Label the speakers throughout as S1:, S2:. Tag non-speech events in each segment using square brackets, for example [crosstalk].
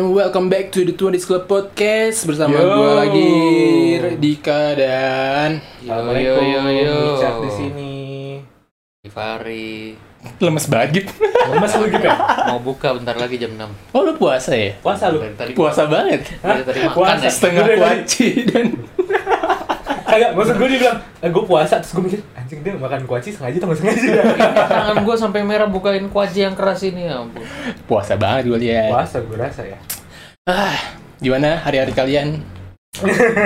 S1: welcome back to the 20 Club Podcast bersama
S2: Yo.
S1: gue lagi Dika dan
S2: Assalamualaikum.
S3: Iya, Yo, yo, yo.
S2: Richard di sini.
S3: Givari
S1: lemes banget. gitu.
S2: Lemes lu gitu ya?
S3: mau buka bentar lagi jam 6
S1: Oh lu puasa ya?
S2: Puasa lu.
S3: dari tadi
S1: Puasa banget.
S3: dari tadi makan
S2: Puasa.
S3: ya
S1: Setengah
S2: Udah, udah.
S1: kuaci dan
S2: Kagak, maksud gue dia bilang, eh, gue puasa terus gue mikir, anjing dia makan kuaci sengaja atau nggak [laughs] sengaja.
S3: tangan gua sampai merah bukain kuaci yang keras ini ya ampun
S1: puasa banget gue lihat.
S2: Puasa gue rasa ya.
S1: Ah, gimana hari-hari kalian?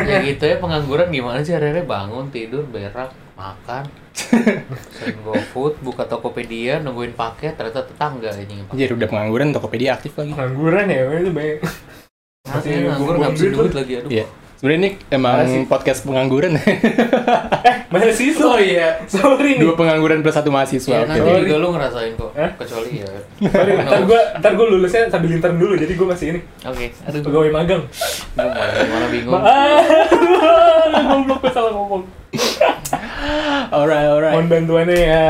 S3: ya gitu ya pengangguran gimana sih hari-hari bangun tidur berak makan sering go food buka Tokopedia nungguin paket ternyata tetangga ini yang pakai.
S2: Iya,
S1: Jadi udah pengangguran Tokopedia aktif lagi.
S2: Pengangguran ya, itu banyak.
S3: Nanti
S2: Masih
S3: ya, nganggur
S2: buang
S3: nggak bisa
S2: duit
S3: duit
S2: lu.
S3: lagi aduh
S1: Iya. Sebenarnya ini emang
S2: Parah sih.
S1: podcast pengangguran.
S2: Eh, mahasiswa.
S1: iya.
S2: Sorry
S1: [laughs]
S2: nih.
S1: Dua pengangguran plus satu mahasiswa.
S3: Ya,
S1: Oke.
S3: nanti
S2: Sorry.
S3: juga lu ngerasain kok
S2: Eh?
S3: kecuali ya
S2: Sorry, ntar gue ntar gue lulusnya sambil intern dulu, jadi gue masih ini
S3: oke aduh gua
S2: pegawai magang. [laughs]
S3: malah malah bingung
S2: Aduh, goblok gue salah ngomong.
S1: Alright, alright.
S2: Mohon bantuannya ya.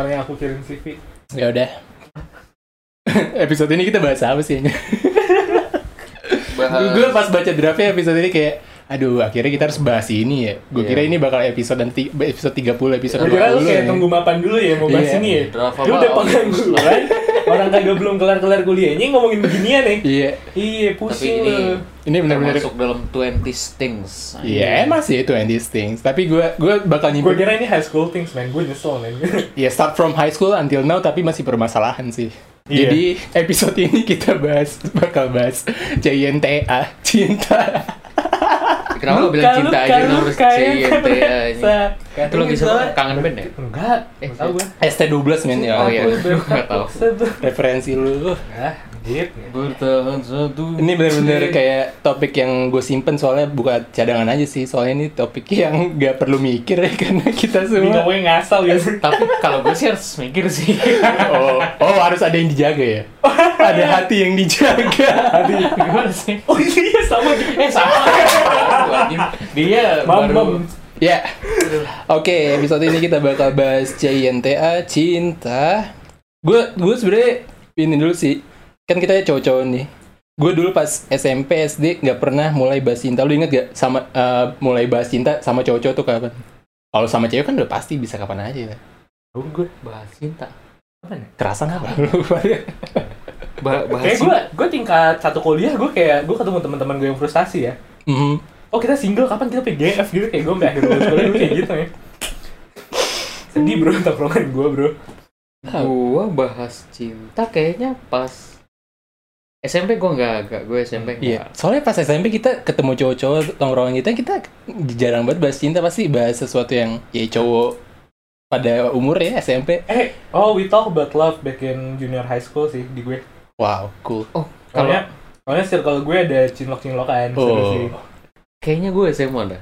S2: Orang yang aku kirim CV.
S1: Ya udah. [laughs] Episode ini kita bahas apa sih?
S3: bahas
S1: gue pas baca draftnya episode ini kayak aduh akhirnya kita harus bahas ini ya gue
S3: Iya.
S1: kira ini bakal episode nanti episode 30 episode 20
S2: Gue kira Iya, lu
S1: ya.
S2: kayak tunggu mapan dulu ya mau bahas
S1: Iya.
S2: ini ya.
S3: Draft
S2: Lu
S3: apa?
S2: udah
S3: Oh,
S2: pengangguran, orang kagak belum kelar-kelar kuliahnya ngomongin beginian nih.
S1: iya
S2: Iya,
S3: tapi
S2: pusing
S3: ini
S2: lu.
S1: ini benar-benar
S3: masuk dalam 20 things
S1: iya emang sih itu and these things tapi gue gue bakal
S2: Gue
S1: nyimpen
S2: kira ini high school things, man. Gue nyesel, man. [laughs]
S1: ya start from high school until now tapi masih permasalahan sih
S2: Iya.
S1: jadi episode ini kita bahas bakal bahas CINTA cinta
S3: Kenapa lu bilang cinta aja lu harus CYT aja. Itu lagi sama kangen band ya?
S2: Enggak,
S3: Eh,
S2: enggak gue.
S1: ST12 men ya
S3: Oh, iya.
S2: Enggak
S3: [laughs] Nggak
S2: tahu.
S3: tahu.
S1: referensi lu
S2: Nah, gitu.
S3: Bertahan
S1: Ini
S3: satu. Iya.
S1: bener-bener kayak topik yang gue simpen soalnya bukan cadangan aja sih soalnya ini topik yang gak perlu mikir ya [laughs] karena kita
S2: Ini
S1: semua.
S2: ngomongnya ngasal
S3: [laughs]
S2: ya.
S3: Tapi kalau gue sih harus
S1: [laughs]
S3: mikir sih.
S1: Oh, oh harus ada yang dijaga ya. Ada hati yang dijaga.
S2: Tadi.
S3: Gimana sih?
S2: Oh iya, sama gitu.
S3: Eh
S2: [laughs]
S3: sama. Baru, anjing. Dia
S2: Mam, mam.
S3: baru.
S1: ya. Oke, episode ini kita bakal bahas CINTA cinta. Gue gue sebenarnya ini dulu sih. Kan kita cowok-cowok nih. Gue dulu pas SMP SD nggak pernah mulai bahas cinta. Lu inget gak sama eh, mulai bahas cinta sama cowok-cowok tuh kapan? Kalau sama cewek kan udah pasti bisa kapan aja ya.
S2: Oh, gue.
S3: Bahas cinta.
S1: Kerasa nggak Bang? [laughs]
S3: Ba- bahas
S2: Kayak gue,
S3: cinta.
S2: gue tingkat satu kuliah, gue kayak, gue ketemu teman-teman gue yang frustasi ya.
S1: Mhm.
S2: oh kita single kapan kita PGF gitu kayak gue sampai akhir lulus kuliah gue kayak gitu ya sedih bro tongkrongan gue bro
S3: Gue bahas cinta kayaknya pas SMP gue nggak nggak gue
S1: Iya.
S3: SMP nggak
S1: Soalnya pas SMP kita ketemu cowok-cowok tongkrongan kita, kita jarang banget bahas cinta pasti bahas sesuatu yang ya cowok pada umur ya SMP.
S2: eh oh we talk about love back in junior high school sih di gue
S1: Wow, cool.
S3: Kalau
S2: soalnya soalnya circle gue ada cinlok cinlokan
S1: Oh.
S2: sih
S3: kayaknya gue SMA dah.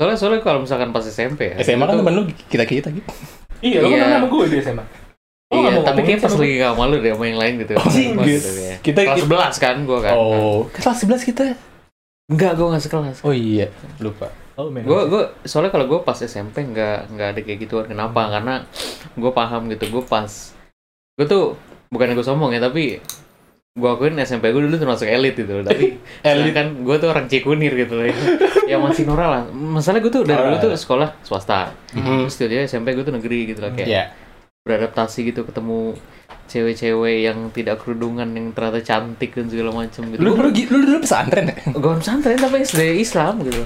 S3: Soalnya soalnya kalau misalkan pas SMP ya.
S1: SMA kan
S3: itu-
S1: temen lu kita-kita gitu.
S2: iya lo
S3: Iya.
S2: kenal sama gue di SMA Lo nggak
S3: Iya,
S2: mau
S3: tapi
S2: ngomongin
S3: kayak pas
S2: sama
S3: lagi gak malu deh sama yang lain gitu.
S1: Oh, Anjing,
S3: Pas
S1: guys.
S3: gitu ya.
S1: Kita
S3: Kelas 11 kan gua kan.
S1: Oh, kelas 11 kita.
S3: Enggak, gua gak sekelas.
S1: Oh iya, lupa.
S2: gue. oh, man.
S3: Gua gua soalnya kalau gua pas SMP nggak nggak ada kayak gituan. Kenapa? Karena gua paham gitu. Gua pas gua tuh bukan gue sombong ya, tapi gua akuin SMP gua dulu termasuk elit gitu. Tapi
S1: [laughs] Elit.
S3: kan gua tuh orang Cikunir gitu loh. ya masih norak lah. Masalah gua tuh dari dulu
S1: Norak.
S3: tuh sekolah swasta.
S1: Mhm.
S3: Terus dia SMP gua tuh negeri gitu lah kayak.
S1: Ya.
S3: beradaptasi gitu ketemu cewek-cewek yang tidak kerudungan yang ternyata cantik dan segala macam gitu.
S1: Lu
S3: Gue
S1: dulu lu dulu pesantren ya?
S3: gue pesantren tapi SD Islam gitu.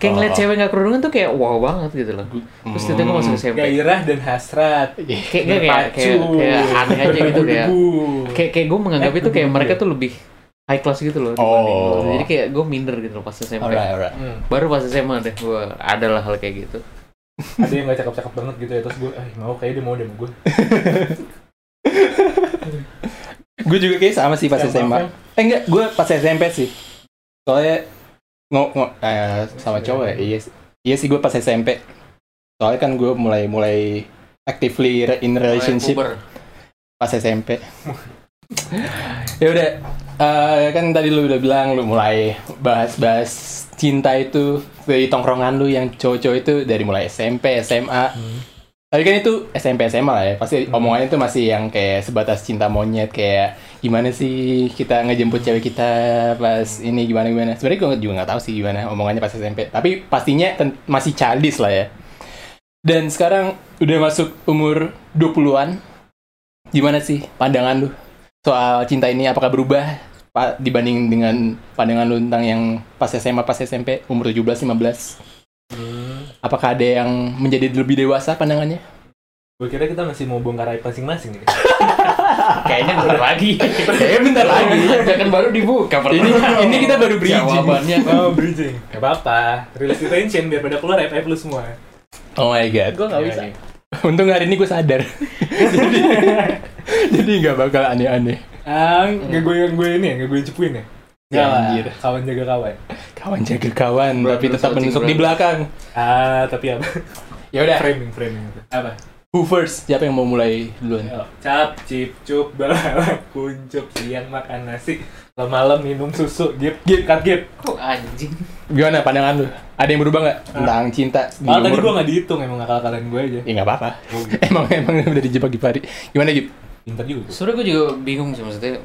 S3: Kayak ngeliat
S1: Oh.
S3: cewek nggak kerudungan tuh kayak wow banget gitu loh. Terus tiba gue masuk SMP.
S2: gairah dan hasrat
S1: Iya.
S3: Kayak kayak kayak, kayak,
S2: berpacu,
S3: kayak aneh aja gitu kayak.
S2: berdebu.
S3: Kayak kayak gue menganggap itu kayak mereka tuh lebih high class gitu loh. dibanding
S1: Oh.
S3: gua. Jadi kayak gue minder gitu loh pas SMP.
S1: Alright, alright. [laughs]
S2: Hmm.
S3: Baru pas SMA deh gue adalah hal kayak gitu.
S2: ada yang gak cakep-cakep banget gitu ya terus gue ah mau kayak dia mau deh sama gue
S1: Gue juga kayak sama sih pas
S2: Ya,
S1: SMA.
S2: maaf
S1: Eh enggak, gue pas SMP sih. Soalnya ngo ngo eh, sama cowok ya. Iya, sih. iya sih gue pas SMP. Soalnya kan gue mulai mulai actively re- in relationship
S3: Puber.
S1: pas SMP. [laughs] ya udah, eh, kan tadi lu udah bilang lu mulai bahas-bahas cinta itu dari tongkrongan lu yang cowok-cowok itu dari mulai SMP, SMA.
S2: Hmm.
S1: Tapi kan itu SMP SMA lah ya, pasti omongannya tuh masih yang kayak sebatas cinta monyet kayak gimana sih kita ngejemput cewek kita pas ini gimana gimana sebenarnya gue juga nggak tahu sih gimana omongannya pas SMP tapi pastinya ten- masih childish lah ya dan sekarang udah masuk umur 20-an gimana sih pandangan lu soal cinta ini apakah berubah pa- dibanding dengan pandangan lu tentang yang pas SMA pas SMP umur 17 15
S2: Hmm.
S1: apakah ada yang menjadi lebih dewasa pandangannya
S2: Gue kira kita masih mau bongkar aib masing-masing nih.
S3: Kayaknya [laughs] bentar lagi.
S1: Kayaknya bentar lagi.
S3: Kan baru dibuka
S1: ini ini kita baru bridging
S3: Jawabannya.
S2: [laughs] Oh, bridging. Gak apa-apa. Release detention biar pada keluar aib-aib lu semua.
S1: oh my god
S2: Gue gak bisa.
S1: Untung hari ini gue sadar. [laughs] jadi jadi nggak bakal aneh-aneh.
S2: Ah,
S3: Hmm.
S2: gak gue yang gue ini ya, gak gue yang cepuin ya.
S1: Ya,
S2: Gak
S1: anjir.
S2: lah, kawan jaga kawan.
S1: Kawan jaga kawan,
S3: Bro,
S1: tapi
S3: bro,
S1: tetap
S3: searching,
S1: menusuk
S3: bro.
S1: di belakang.
S2: Ah, tapi
S3: [laughs]
S2: apa?
S1: Ya udah,
S2: framing, framing. Apa?
S1: who first? Siapa yang mau mulai duluan?
S2: Yo, Cap, cip, cup, balak, kuncup, siang makan nasi, malam minum susu, gip, gip, kat gip.
S3: Kok anjing?
S1: Gimana pandangan lu? Ada yang berubah nggak tentang cinta di
S2: Malah Ah, tadi gue
S1: umur?
S2: gak dihitung emang akal-akalan gue aja.
S1: Ya nggak apa-apa. [laughs]
S3: Oh, gitu.
S1: emang emang udah dijebak di pari. Gimana Gip?
S2: Pinter juga.
S3: Sebenernya gue juga bingung sih maksudnya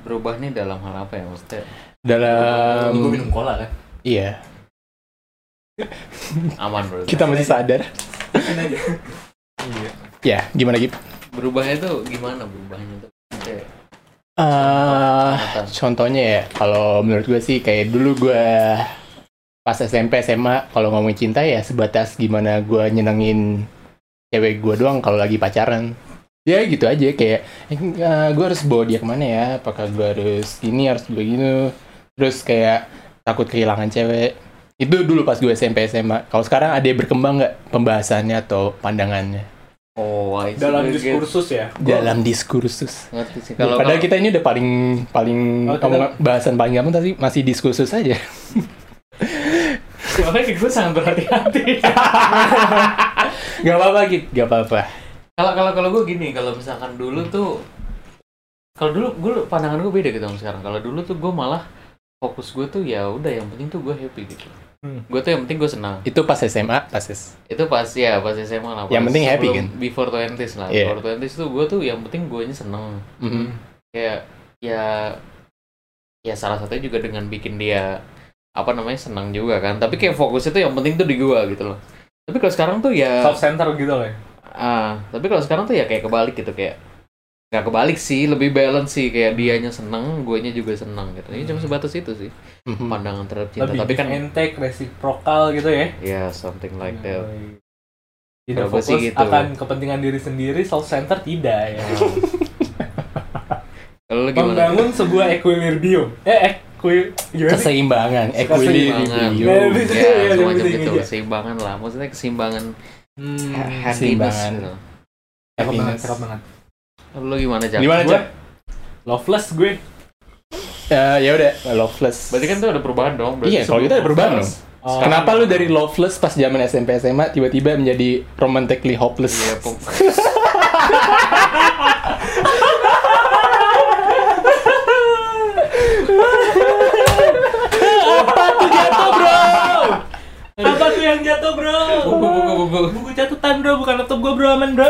S3: berubahnya dalam hal apa ya maksudnya
S1: Dalam
S2: gue minum cola kan.
S1: iya,
S3: aman bro
S1: kita masih sadar.
S2: Terusin aja. Iya.
S1: Ya, gimana Gip?
S3: berubahnya tuh gimana berubahnya tuh Maksudnya,
S1: Eh,
S3: Apa?
S1: contohnya ya, kalau menurut gue sih kayak dulu gue pas SMP SMA kalau ngomongin cinta ya sebatas gimana gue nyenengin cewek gue doang kalau lagi pacaran. Ya gitu aja kayak gue harus bawa dia kemana ya? Apakah gue harus gini harus begini? Terus kayak takut kehilangan cewek. Itu dulu pas gue SMP SMA. Kalau sekarang ada yang berkembang nggak pembahasannya atau pandangannya
S3: oh I see.
S2: Dalam
S3: Gue
S2: diskursus ya.
S1: dalam diskursus?
S3: get- ngerti sih kalau
S1: Kalau Padahal kita ini udah paling paling
S2: Oh, kita-
S1: omong- bahasan paling gampang tapi masih diskursus
S3: [laughs]
S1: aja.
S2: Makanya gue sangat
S3: [laughs]
S2: berhati-hati.
S1: Gak apa-apa gitu. Gak apa-apa.
S3: kalau kalau kalau gue gini kalau misalkan dulu tuh kalau dulu gue pandangan gue beda gitu sama sekarang kalau dulu tuh gue malah fokus gue tuh ya udah yang penting tuh gue happy gitu
S2: Hmm.
S3: gue tuh yang penting gue senang
S1: Itu pas SMA, pas S-
S3: itu pas ya pas SMA
S1: Yang
S3: lah pas
S1: penting happy, kan?
S3: sebelum before twenties lah
S1: Iya.
S3: before twenties tuh gue tuh yang penting gue seneng
S1: Mhm.
S3: kayak ya ya salah satunya juga dengan bikin dia apa namanya senang juga kan tapi kayak fokusnya tuh yang penting tuh di gua gitu loh tapi kalau sekarang tuh ya
S2: Soft center gitu loh ya.
S3: ah tapi kalau sekarang tuh ya kayak kebalik gitu kayak nggak kebalik sih lebih balance sih kayak
S1: Hmm.
S3: dianya seneng guanya juga seneng gitu ini cuma sebatas itu sih
S1: Mhm.
S3: pandangan terhadap cinta
S2: Lebih
S3: tapi kan
S2: entek, reciprocal gitu ya. Iya.
S3: ya something like
S1: Iya.
S3: that
S2: Tidak
S3: Kalau gue
S2: fokus
S3: sih gitu.
S2: akan kepentingan diri sendiri, self center tidak
S1: Iya.
S2: ya.
S3: [laughs] kalau lu gimana
S2: Membangun sebuah equilibrium. Eh, equi gimana sih?
S1: Keseimbangan,
S3: keseimbangan
S1: equilibrium,
S2: Nah, itu-
S3: ya
S2: itu-
S3: semacam
S1: iya,
S2: itu-
S3: gitu
S2: itu.
S3: keseimbangan lah maksudnya keseimbangan
S2: Hmm,
S3: happiness
S1: Keseimbangan.
S3: gitu.
S2: cakep banget,
S1: happiness.
S2: cakep banget.
S3: lu gimana Jack?
S1: Gimana
S2: Gue
S1: cak?
S2: Loveless gue.
S1: ya udah loveless.
S3: Berarti kan tuh ada perubahan dong. berarti
S1: Iya, kalau
S3: sebelum
S1: kita ada perubahan dong.
S3: loveless.
S2: Oh,
S1: Kenapa lu dari loveless pas zaman SMP SMA tiba-tiba menjadi romantically hopeless?
S3: Iya, [laughs] pok-
S1: [laughs]
S2: Apa tuh yang jatuh bro?
S3: buku buku buku.
S2: Buku catatan bro, bukan laptop gue bro, aman bro.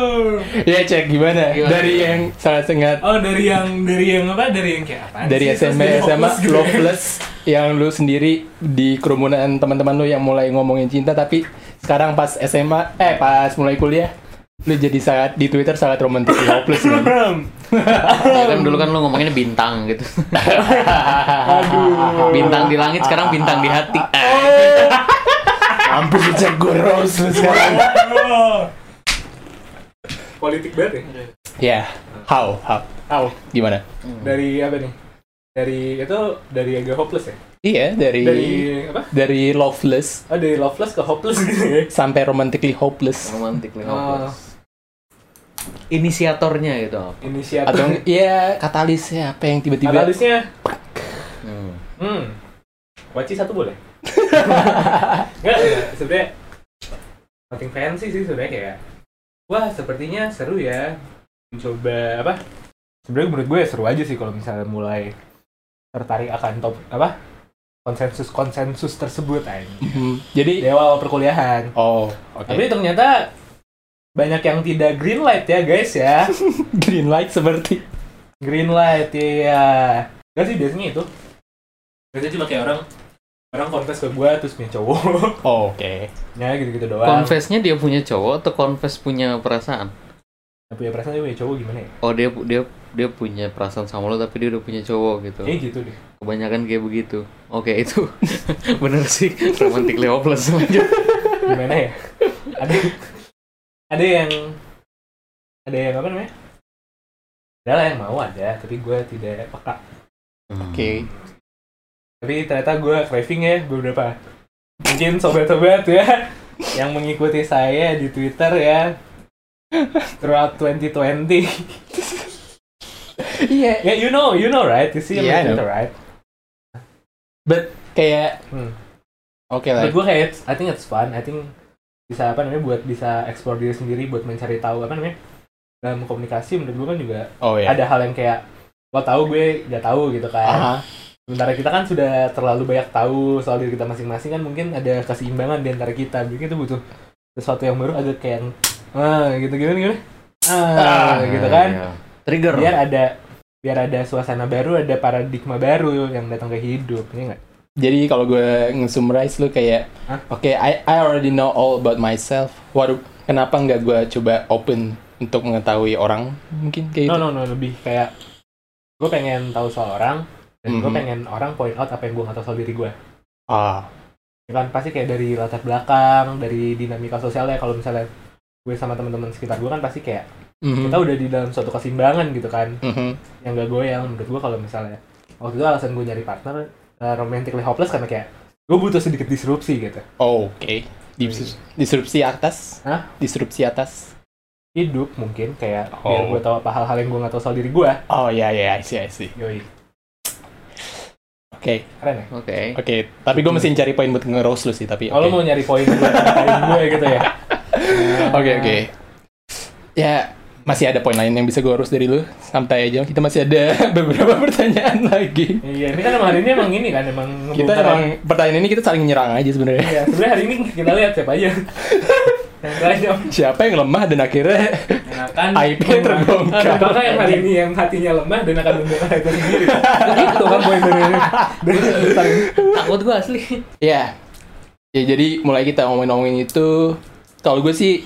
S1: [laughs] Ya cek gimana?
S3: Gimana?
S1: Dari yang sangat sengat
S2: Oh dari yang dari yang apa? Dari yang kayak apa?
S1: dari SMP SMA
S2: gitu ya?
S1: loveless yang lu sendiri di kerumunan teman-teman lu yang mulai ngomongin cinta tapi sekarang pas SMA eh pas mulai kuliah lu jadi sangat di Twitter sangat romantis hopeless [laughs] man.
S3: Ya kan dulu kan lu ngomonginnya bintang
S1: [laughs]
S3: gitu.
S2: Aduh.
S3: Bintang di langit sekarang bintang di hati.
S1: [laughs] Mampus lu cek gue rose lu sekarang.
S2: Politik banget ya?
S1: Ya, how how
S2: Tahu.
S1: gimana?
S2: Dari apa nih? Dari itu dari agak hopeless ya?
S1: Iya dari
S2: Dari
S1: dari,
S2: apa?
S1: loveless
S2: Oh dari loveless ke hopeless gitu ya?
S1: sampai romantically hopeless
S3: Romantik nih.
S2: Oh.
S3: hopeless. Inisiatornya gitu.
S2: Inisiator.
S1: atau ya katalisnya apa yang tiba-tiba
S2: Analisnya.
S3: Hmm.
S2: Hmm. Waci satu boleh? Enggak, enggak. sebenarnya nothing fancy sih sebenarnya kayak wah sepertinya seru ya mencoba apa sebenarnya menurut gue seru aja sih kalau misalnya mulai tertarik akan top apa konsensus konsensus tersebut aja
S1: [laughs] Mhm. jadi
S2: di awal perkuliahan
S1: oh oke
S2: tapi ternyata banyak yang tidak green light ya guys ya
S1: green light seperti
S2: Green light, iya. Gak sih biasanya itu. Biasanya cuma kayak orang orang confess ke gue terus punya cowok. [laughs]
S1: Oh, Oke.
S2: ya gitu-gitu doang.
S3: Confessnya dia punya cowok atau confess punya perasaan?
S2: Nah, punya perasaan dia punya cowok gimana ya?
S3: Oh dia pu- dia dia punya perasaan sama lo tapi dia udah punya cowok gitu.
S2: Kayaknya gitu deh.
S3: Kebanyakan kayak begitu. Oke itu [laughs] bener sih romantic Leopolis
S1: Hmm.
S3: lanjut.
S2: Gimana ya? [laughs] ada ada yang ada yang apa namanya? Ada lah yang mau ada, tapi gue tidak peka.
S1: Oke.
S2: Tapi ternyata gue craving ya beberapa. Mungkin sobat-sobat ya [laughs] yang mengikuti saya di Twitter ya throughout 2020.
S1: Iya.
S2: Yeah, you know, you know, right? You see him
S1: Yeah, I
S2: on
S1: know.
S2: Twitter, right?
S1: But kayak
S2: Hmm.
S1: oke lah.
S2: But gue kayak, it's- I think it's fun. I think bisa apa namanya buat bisa explore diri sendiri, buat mencari tahu apa namanya dalam komunikasi. Menurut gue kan juga
S1: Oh ya.
S2: ada hal yang kayak lo tahu gue nggak tahu gitu kan.
S1: Aha.
S2: Sementara kita kan sudah terlalu banyak tahu soal diri kita masing-masing kan mungkin ada keseimbangan di antara kita. Mungkin itu butuh sesuatu yang baru agak kayak yang, ah gitu gimana gimana ah, gitu kan
S3: iya. Trigger.
S2: biar ada biar ada suasana baru ada paradigma baru yang datang ke hidup ini nggak
S1: Jadi kalau gue nge-summarize lu kayak
S2: Hah?
S1: oke I I already know all about myself. Waduh, kenapa nggak gue coba open untuk mengetahui orang mungkin kayak
S2: no
S1: gitu.
S2: no no lebih kayak gue pengen tahu soal orang dan gue
S1: Mhm.
S2: pengen orang point out apa yang gue nggak tahu soal diri gue
S1: Ah,
S2: Ya kan pasti kayak dari latar belakang dari dinamika sosialnya kalau misalnya gue sama teman-teman sekitar gue kan pasti kayak
S1: mhm,
S2: kita udah di dalam suatu keseimbangan gitu kan
S1: mhm.
S2: yang gak goyang menurut gue kalau misalnya waktu itu alasan gue nyari partner uh, romantically hopeless karena kayak gue butuh sedikit disrupsi gitu
S1: Oh, oke. Dis- Disrupsi atas?
S2: Iya. Hah?
S1: Disrupsi atas?
S2: hidup mungkin kayak biar
S1: Oh.
S2: gue tahu apa hal-hal yang gue nggak tahu soal diri gue
S1: Oh ya ya, I see I see.
S2: yoi
S1: Oke.
S2: keren ya
S3: Oke.
S1: Oke, tapi gue mesti cari poin buat nge-roast lu sih, tapi
S2: kalau
S1: oke.
S2: mau nyari poin buat ngatain gue gitu ya Nah,
S1: Oke, oke. Ya, masih ada poin lain yang bisa gue roast dari lu. Santai aja, kita masih ada [laughs] beberapa pertanyaan lagi.
S2: iya ini kan emang hari ini emang ini kan emang
S1: Kita
S2: ngebongkar-
S1: emang pertanyaan ini kita saling nyerang aja sebenarnya.
S2: iya sebenarnya hari ini kita lihat siapa aja yang lain
S1: Siapa yang lemah dan akhirnya
S2: yang akan
S1: IP terbongkar.
S2: Apakah yang hari ini yang hatinya lemah dan akan membongkar itu sendiri itu kan poin dari dari- dari
S3: Takut gue asli.
S1: Ya. Ya jadi mulai kita ngomongin-ngomongin itu kalau gue sih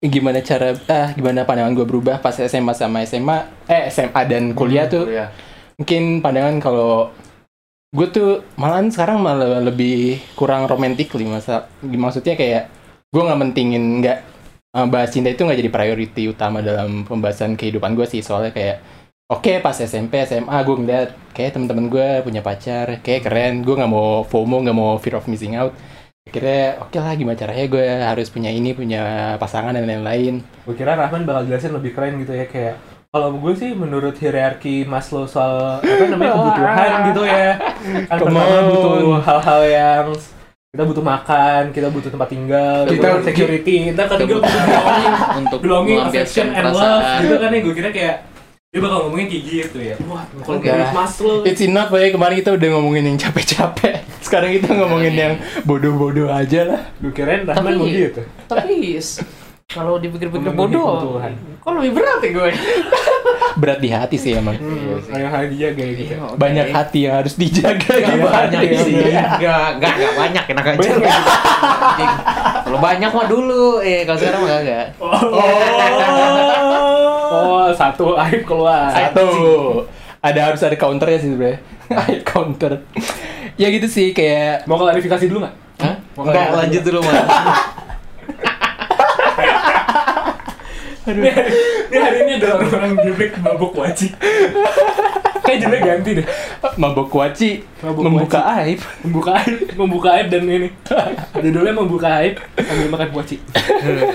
S1: gimana cara ah gimana pandangan gue berubah pas SMA sama SMA eh SMA dan kuliah tuh
S3: Iya.
S1: mungkin pandangan kalau gue tuh malahan sekarang malah lebih kurang romantik li masa maksudnya kayak gue nggak mentingin nggak eh, bahas cinta itu nggak jadi priority utama dalam pembahasan kehidupan gue sih soalnya kayak oke pas SMP SMA gue ngeliat kayak teman-teman gue punya pacar kayak keren gue nggak mau FOMO nggak mau fear of missing out akhirnya oke lah gimana caranya gue harus punya ini punya pasangan dan lain-lain
S2: gue kira Rahman bakal jelasin lebih keren gitu ya kayak kalau gue sih menurut hierarki Maslow soal apa namanya kebutuhan gitu ya kan
S1: Come
S2: pertama
S1: on.
S2: butuh hal-hal yang kita butuh makan kita butuh tempat tinggal
S1: Kita-
S2: kita butuh security kita ketiga butuh belonging
S3: untuk
S2: belonging
S3: melampiaskan
S2: affection and love
S3: perasaan.
S2: gitu kan ya gue kira kayak dia bakal ngomongin kayak gitu ya wah kalau
S1: Enggak.
S2: menurut Maslow
S1: It's enough ya kemarin kita udah ngomongin yang capek-capek. [laughs] Sekarang kita ngomongin yang bodoh-bodoh aja lah.
S2: gue kirain Rahman mau
S3: Tapi-
S2: gitu
S3: Tapi kalau dipikir-pikir
S2: Memenuhi
S3: bodoh,
S2: kebutuhan.
S3: kok lebih berat ya gue?
S1: Berat di hati sih emang.
S3: Iya.
S2: hmm, kayak hal dia kayak gitu
S1: Banyak hati yang harus dijaga
S3: Gak
S1: gitu.
S3: banyak ya,
S2: Iya,
S3: sih.
S2: iya.
S3: Gak, gak, gak banyak enak aja.
S2: Banyak.
S3: Anjing. Kalau banyak mah dulu, eh kalau sekarang mah gak.
S2: oh satu aib keluar
S1: Satu. Ada harus ada counternya sih sebenarnya. [laughs] Ayo counter. ya gitu sih kayak
S2: mau klarifikasi dulu nggak
S3: Hah?
S2: Mau
S3: Oh, Enggak,
S2: nggak?
S3: lanjut dulu mah.
S2: Ini hari, ini hari ini ada orang-orang jebek mabuk wajib. Kayak jebek ganti deh.
S1: mabok kuaci
S2: Mabok
S1: membuka aib.
S2: Membuka aib, membuka aib dan ini. Judulnya membuka aib sambil makan kuaci.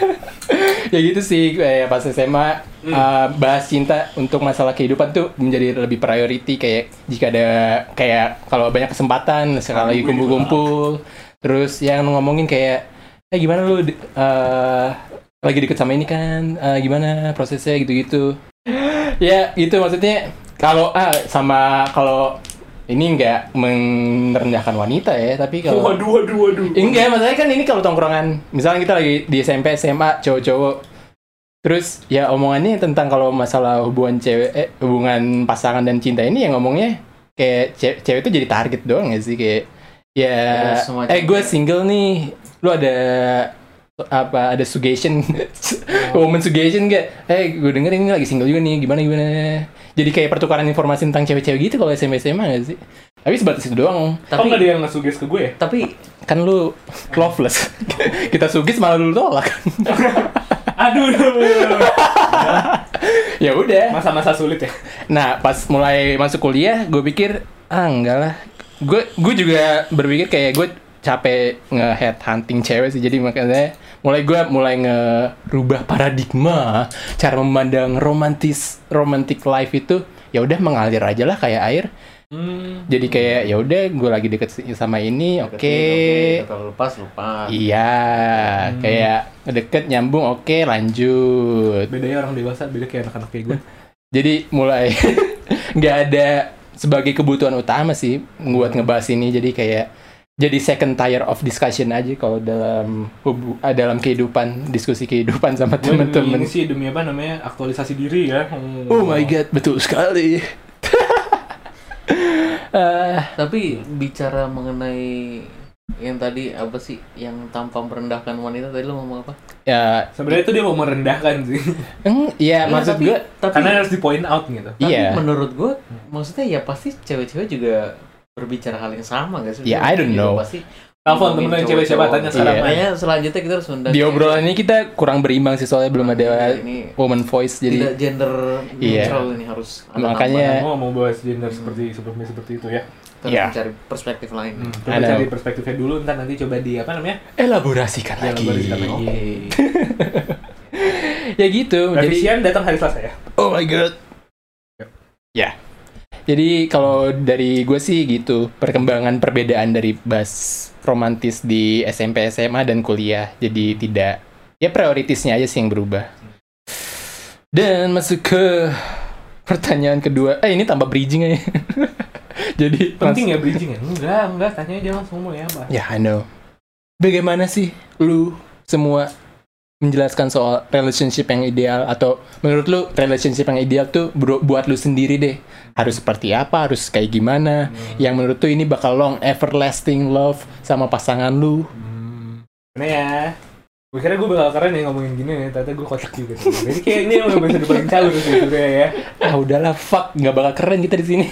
S1: [laughs] ya gitu sih kayak pas SMA uh, bahas cinta untuk masalah kehidupan tuh menjadi lebih priority kayak jika ada kayak kalau banyak kesempatan sekarang lagi kumpul-kumpul terus yang ngomongin kayak eh gimana lu de- uh, lagi deket sama ini kan uh, gimana prosesnya gitu-gitu [gasps] ya gitu maksudnya kalau ah sama kalau ini nggak merendahkan wanita ya tapi kalau
S2: Waduh, waduh, waduh.
S1: Enggak, masalahnya kan ini kalau tongkrongan, misalnya kita lagi di SMP, SMA, cowok-cowok, Terus ya omongannya tentang kalau masalah hubungan cewek, eh, hubungan pasangan dan cinta ini yang ngomongnya kayak ce- cewek itu jadi target doang ya sih kayak ya
S3: Ya, semacam
S1: eh gue
S3: kayak-
S1: single nih, lu ada apa ada suggestion woman suggestion gak? Eh gue denger ini lagi single juga nih, gimana gimana? Jadi kayak pertukaran informasi tentang cewek-cewek gitu kalau SMA SMA gak sih? Tapi sebatas itu doang.
S2: Kok nggak ada
S3: tapi
S2: yang nge-suggest ke gue ya?
S3: tapi
S1: Kan lu loveless. [laughs] Kita sugis malah lu tolak. [laughs]
S2: Aduh,
S1: ya udah.
S2: masa-masa sulit ya.
S1: Nah, pas mulai masuk kuliah, gue pikir, ah enggak lah. Gue gue juga berpikir kayak gue capek nge-head hunting cewek sih, jadi makanya mulai gue mulai ngerubah paradigma cara memandang romantis romantic life itu ya udah mengalir aja lah kayak air
S2: Hmm.
S1: jadi kayak ya udah gue lagi deket si- sama
S3: Iya,
S1: ini oke
S3: kalau lepas lupa
S1: iya kayak deket nyambung oke lanjut
S2: Bedanya orang dewasa, beda kayak anak-anak kayak gue.
S1: Jadi mulai [laughs] nggak ada sebagai kebutuhan utama sih buat ngebahas ini. Jadi kayak jadi second tier of discussion aja kalau dalam hubu- ah, dalam kehidupan diskusi kehidupan sama
S2: Gue demi
S1: [laughs]
S2: ini
S1: temen-temen.
S2: sih demi apa namanya aktualisasi diri ya. Hmm.
S1: Oh my god, betul sekali. [laughs] Eh,
S3: tapi bicara mengenai yang tadi apa sih yang tanpa merendahkan wanita tadi lo ngomong apa
S1: ya,
S2: Sebenarnya itu dia mau merendahkan [laughs] sih.
S1: eng, ya
S3: Iya,
S1: maksud
S3: tapi-
S1: gue,
S3: tapi
S2: Karena harus di point out gitu.
S3: Tapi
S1: Iya.
S3: menurut gue, maksudnya ya pasti cewek-cewek juga berbicara hal yang sama gak sih?
S1: Ya, I don't
S3: Juga
S1: know.
S3: Pasti
S2: Telepon temen lo yang cewek siapa, tanya saran.
S1: Iya.
S3: Makanya selanjutnya kita harus undang
S1: di
S3: cewek.
S1: obrolan ini kita kurang berimbang sih soalnya belum ada
S3: Ini
S1: woman voice.
S3: Iya. tidak
S1: Jadi
S3: gender
S1: Iya.
S3: neutral ini harus ada
S1: Makanya-
S2: Gue mau bahas gender seperti sebelumnya seperti itu ya.
S3: tambahan. Kita harus
S1: Iya.
S3: mencari perspektif lain.
S2: Hmm,
S3: Oke.
S2: coba
S1: Ada.
S2: cari perspektifnya dulu, ntar nanti coba di apa namanya?
S1: elaborasikan
S3: Iya,
S1: lagi.
S2: Dielaborasikan lagi.
S1: Ya gitu. Jadi
S2: Revisian datang hari Selasa ya.
S1: Oh my god. Ya. Jadi kalau dari gue sih gitu perkembangan perbedaan dari bas romantis di SMP SMA dan kuliah. Jadi tidak ya prioritasnya aja sih yang berubah. Dan masuk ke pertanyaan kedua. Eh ini tambah bridging aja. [laughs] Jadi
S2: Penting ya bridging ya? Enggak, enggak, tanya aja langsung mau ya, Pak.
S1: Ya, I know. Bagaimana sih lu semua menjelaskan soal relationship yang ideal atau menurut lu relationship yang ideal tuh bro- buat lu sendiri deh. Harus seperti apa, harus kayak gimana? Yang menurut tuh ini bakal long everlasting love sama pasangan lu.
S2: Hmm. Nah ya. Gue kira gue bakal keren ya ngomongin gini ya, ternyata gue kocak juga. sih. Jadi kayak ini emang bahasa depan calon sih sebenarnya ya. [laughs]
S1: Ah udahlah fuck, nggak bakal keren kita di sini.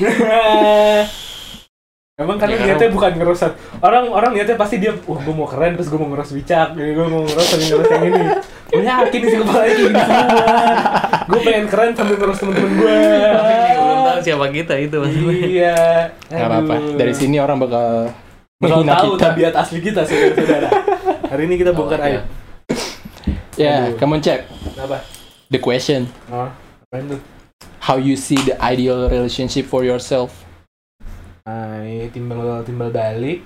S2: Emang karena
S3: Ya,
S2: niatnya bukan ngerosot. Orang orang niatnya pasti dia, wah gue mau keren terus gue mau ngeros bicak, jadi gue mau ngeros sambil ngeros yang ini. Gue yakin isi kepala ini gini semua. Gue pengen keren sambil ngeros temen-temen gue.
S3: [laughs] Tapi dia belum tahu siapa kita itu maksudnya.
S2: Iya.
S1: Gak apa-apa. Dari sini orang bakal
S2: Bakal
S1: menghina
S2: tahu ya.
S1: kita.
S2: tabiat asli kita saudara. Hari ini kita bongkar
S3: Tahu aja.
S2: aib.
S1: Ya,
S2: Aduh.
S1: kamu cek
S2: Apa?
S1: the question.
S2: Oh, apaan tuh?
S1: How you see the ideal relationship for yourself?
S2: Hai, timbal timbal balik,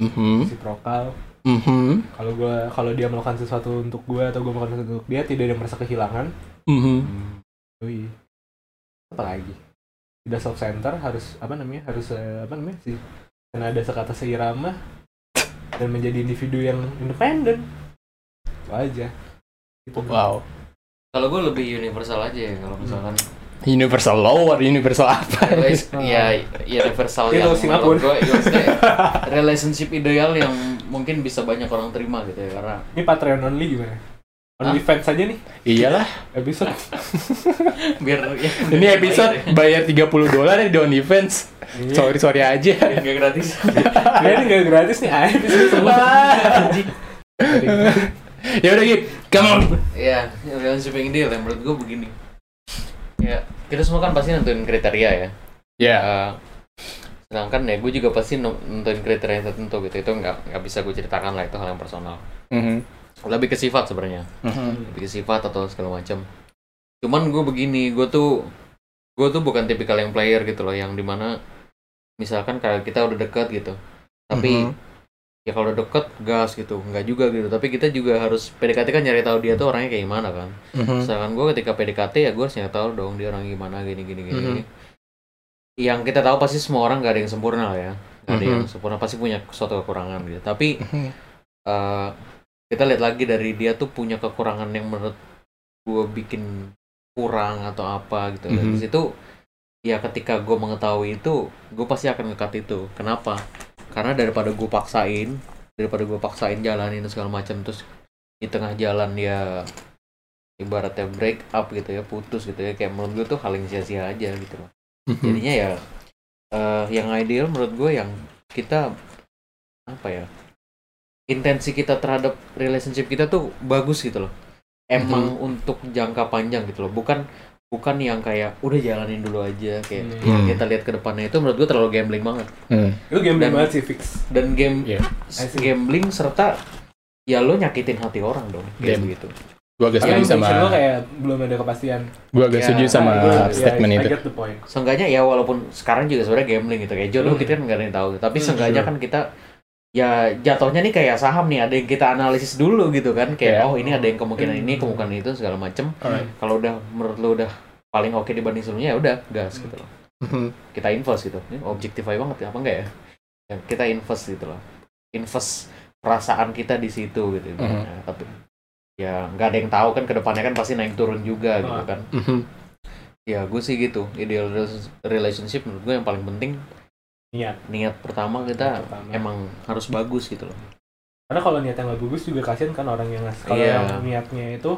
S1: Mhm.
S2: si prokal.
S1: Mhm.
S2: Kalau gua kalau dia melakukan sesuatu untuk gua atau gua melakukan sesuatu untuk dia tidak ada yang merasa kehilangan.
S1: Mhm.
S2: Yoi. Apa lagi? Tidak self center harus apa namanya? Harus eh, apa namanya sih? Karena ada sekata seirama dan menjadi individu yang independen. Itu aja. Itu.
S1: Wow.
S3: Kalau gue lebih universal aja ya
S1: [laughs]
S3: kalau misalkan
S1: Iya. Universal law atau universal apa?
S3: Anyways, ya
S2: Itu
S3: universal yang
S2: Iya, Singapura.
S3: menurut gue ya, maksudnya relationship ideal yang mungkin bisa banyak orang terima gitu ya karena
S2: [laughs] Ini Patreon only gimana? Only fans aja nih
S1: Iyalah.
S2: episode.
S3: biar ya,
S1: Ini episode bayar 30 dolar di Don Events. [laughs]
S2: Iya.
S1: Sorry sorry aja.
S3: Biar nggak gratis
S2: Dia Iya. ini nggak gratis nih aib
S1: [laughs]
S2: episode semua.
S1: ya udah Gip, come on.
S3: ya relationship yang ideal ya menurut gue begini ya kita semua kan pasti nentuin kriteria ya
S1: Ya.
S3: Eh, sedangkan ya gue juga pasti nu- nentuin kriteria yang tertentu gitu itu nggak nggak bisa gue ceritakan lah itu hal yang personal
S1: Mhm.
S3: lebih ke sifat sebenarnya
S1: Mhm.
S3: bikin sifat atau segala macam cuman gue begini gue tuh gue tuh bukan tipikal yang player gitu loh yang dimana misalkan kalau kita udah deket gitu tapi
S1: Mhm.
S3: ya kalau udah deket gas gitu nggak juga gitu tapi kita juga harus PDKT kan nyari tahu dia tuh orangnya kayak gimana kan
S1: Mhm.
S3: misalkan gue ketika PDKT ya gue harus nyari tahu dong dia orang gimana gini gini gini
S1: Mhm.
S3: gini. yang kita tahu pasti semua orang gak ada yang sempurna lah ya gak ada
S1: Mhm.
S3: yang sempurna pasti punya suatu kekurangan gitu tapi
S1: Mhm.
S3: eh, kita lihat lagi dari dia tuh punya kekurangan yang menurut gue bikin kurang atau apa gitu dan
S1: Mhm.
S3: di situ ya ketika gue mengetahui itu gue pasti akan ngekat itu kenapa karena daripada gue paksain daripada gue paksain jalanin dan segala macam terus di tengah jalan ya ibaratnya break up gitu ya putus gitu ya kayak menurut gue tuh hal yang sia-sia aja gitu loh
S1: Hmm.
S3: jadinya ya eh, yang ideal menurut gue yang kita apa ya intensi kita terhadap relationship kita tuh bagus gitu loh emang
S1: Hmm.
S3: untuk jangka panjang gitu loh bukan bukan yang kayak udah jalanin dulu aja kayak
S1: Hmm.
S3: kita lihat ke depannya itu menurut gue terlalu gambling banget
S1: Hmm.
S2: Itu gambling
S3: Dan-
S2: banget sih fix.
S3: dan game
S1: Iya.
S3: s- gambling serta ya lo nyakitin hati orang dong kayak
S1: Game.
S3: begitu
S1: Gue agak
S2: Karena
S1: setuju
S2: intention
S1: sama
S2: lo Ya, kayak belum ada kepastian.
S1: gue agak
S3: Ya,
S1: setuju sama
S2: Nah, gua- ya,
S1: statement
S2: I
S1: itu.
S2: get the point.
S3: seenggaknya ya walaupun sekarang juga sebenarnya gambling gitu kayak jodoh
S2: Hmm.
S3: kita kan nggak ada yang tahu tapi
S2: Hmm,
S3: seenggaknya
S1: sure.
S3: kan kita ya jatuhnya nih kayak saham nih ada yang kita analisis dulu gitu kan kayak
S1: Yeah.
S3: oh ini ada yang kemungkinan
S2: Iya. Hmm.
S3: ini kemungkinan itu segala macem
S1: Alright.
S3: kalau udah menurut lo udah paling oke dibanding sebelumnya ya udah
S2: Hmm.
S3: gas gitu loh
S1: Mm-hmm.
S3: kita invest gitu ini objektif aja banget ya apa enggak ya Ya, kita invest gitu loh invest perasaan kita di situ gitu
S2: Hmm.
S1: Mhm.
S3: Nah, tapi ya nggak ada yang tahu kan kedepannya kan pasti naik turun juga gitu
S2: Ah.
S3: kan
S1: Mhm.
S3: ya gue sih gitu ideal rel- relationship menurut gue yang paling penting
S2: Niat.
S3: niat pertama kita
S2: Pertama.
S3: emang harus bagus gitu loh
S2: Karena kalau niatnya nggak bagus juga kasihan kan orang yang ngasih. Kalau
S3: Iya.
S2: yang niatnya itu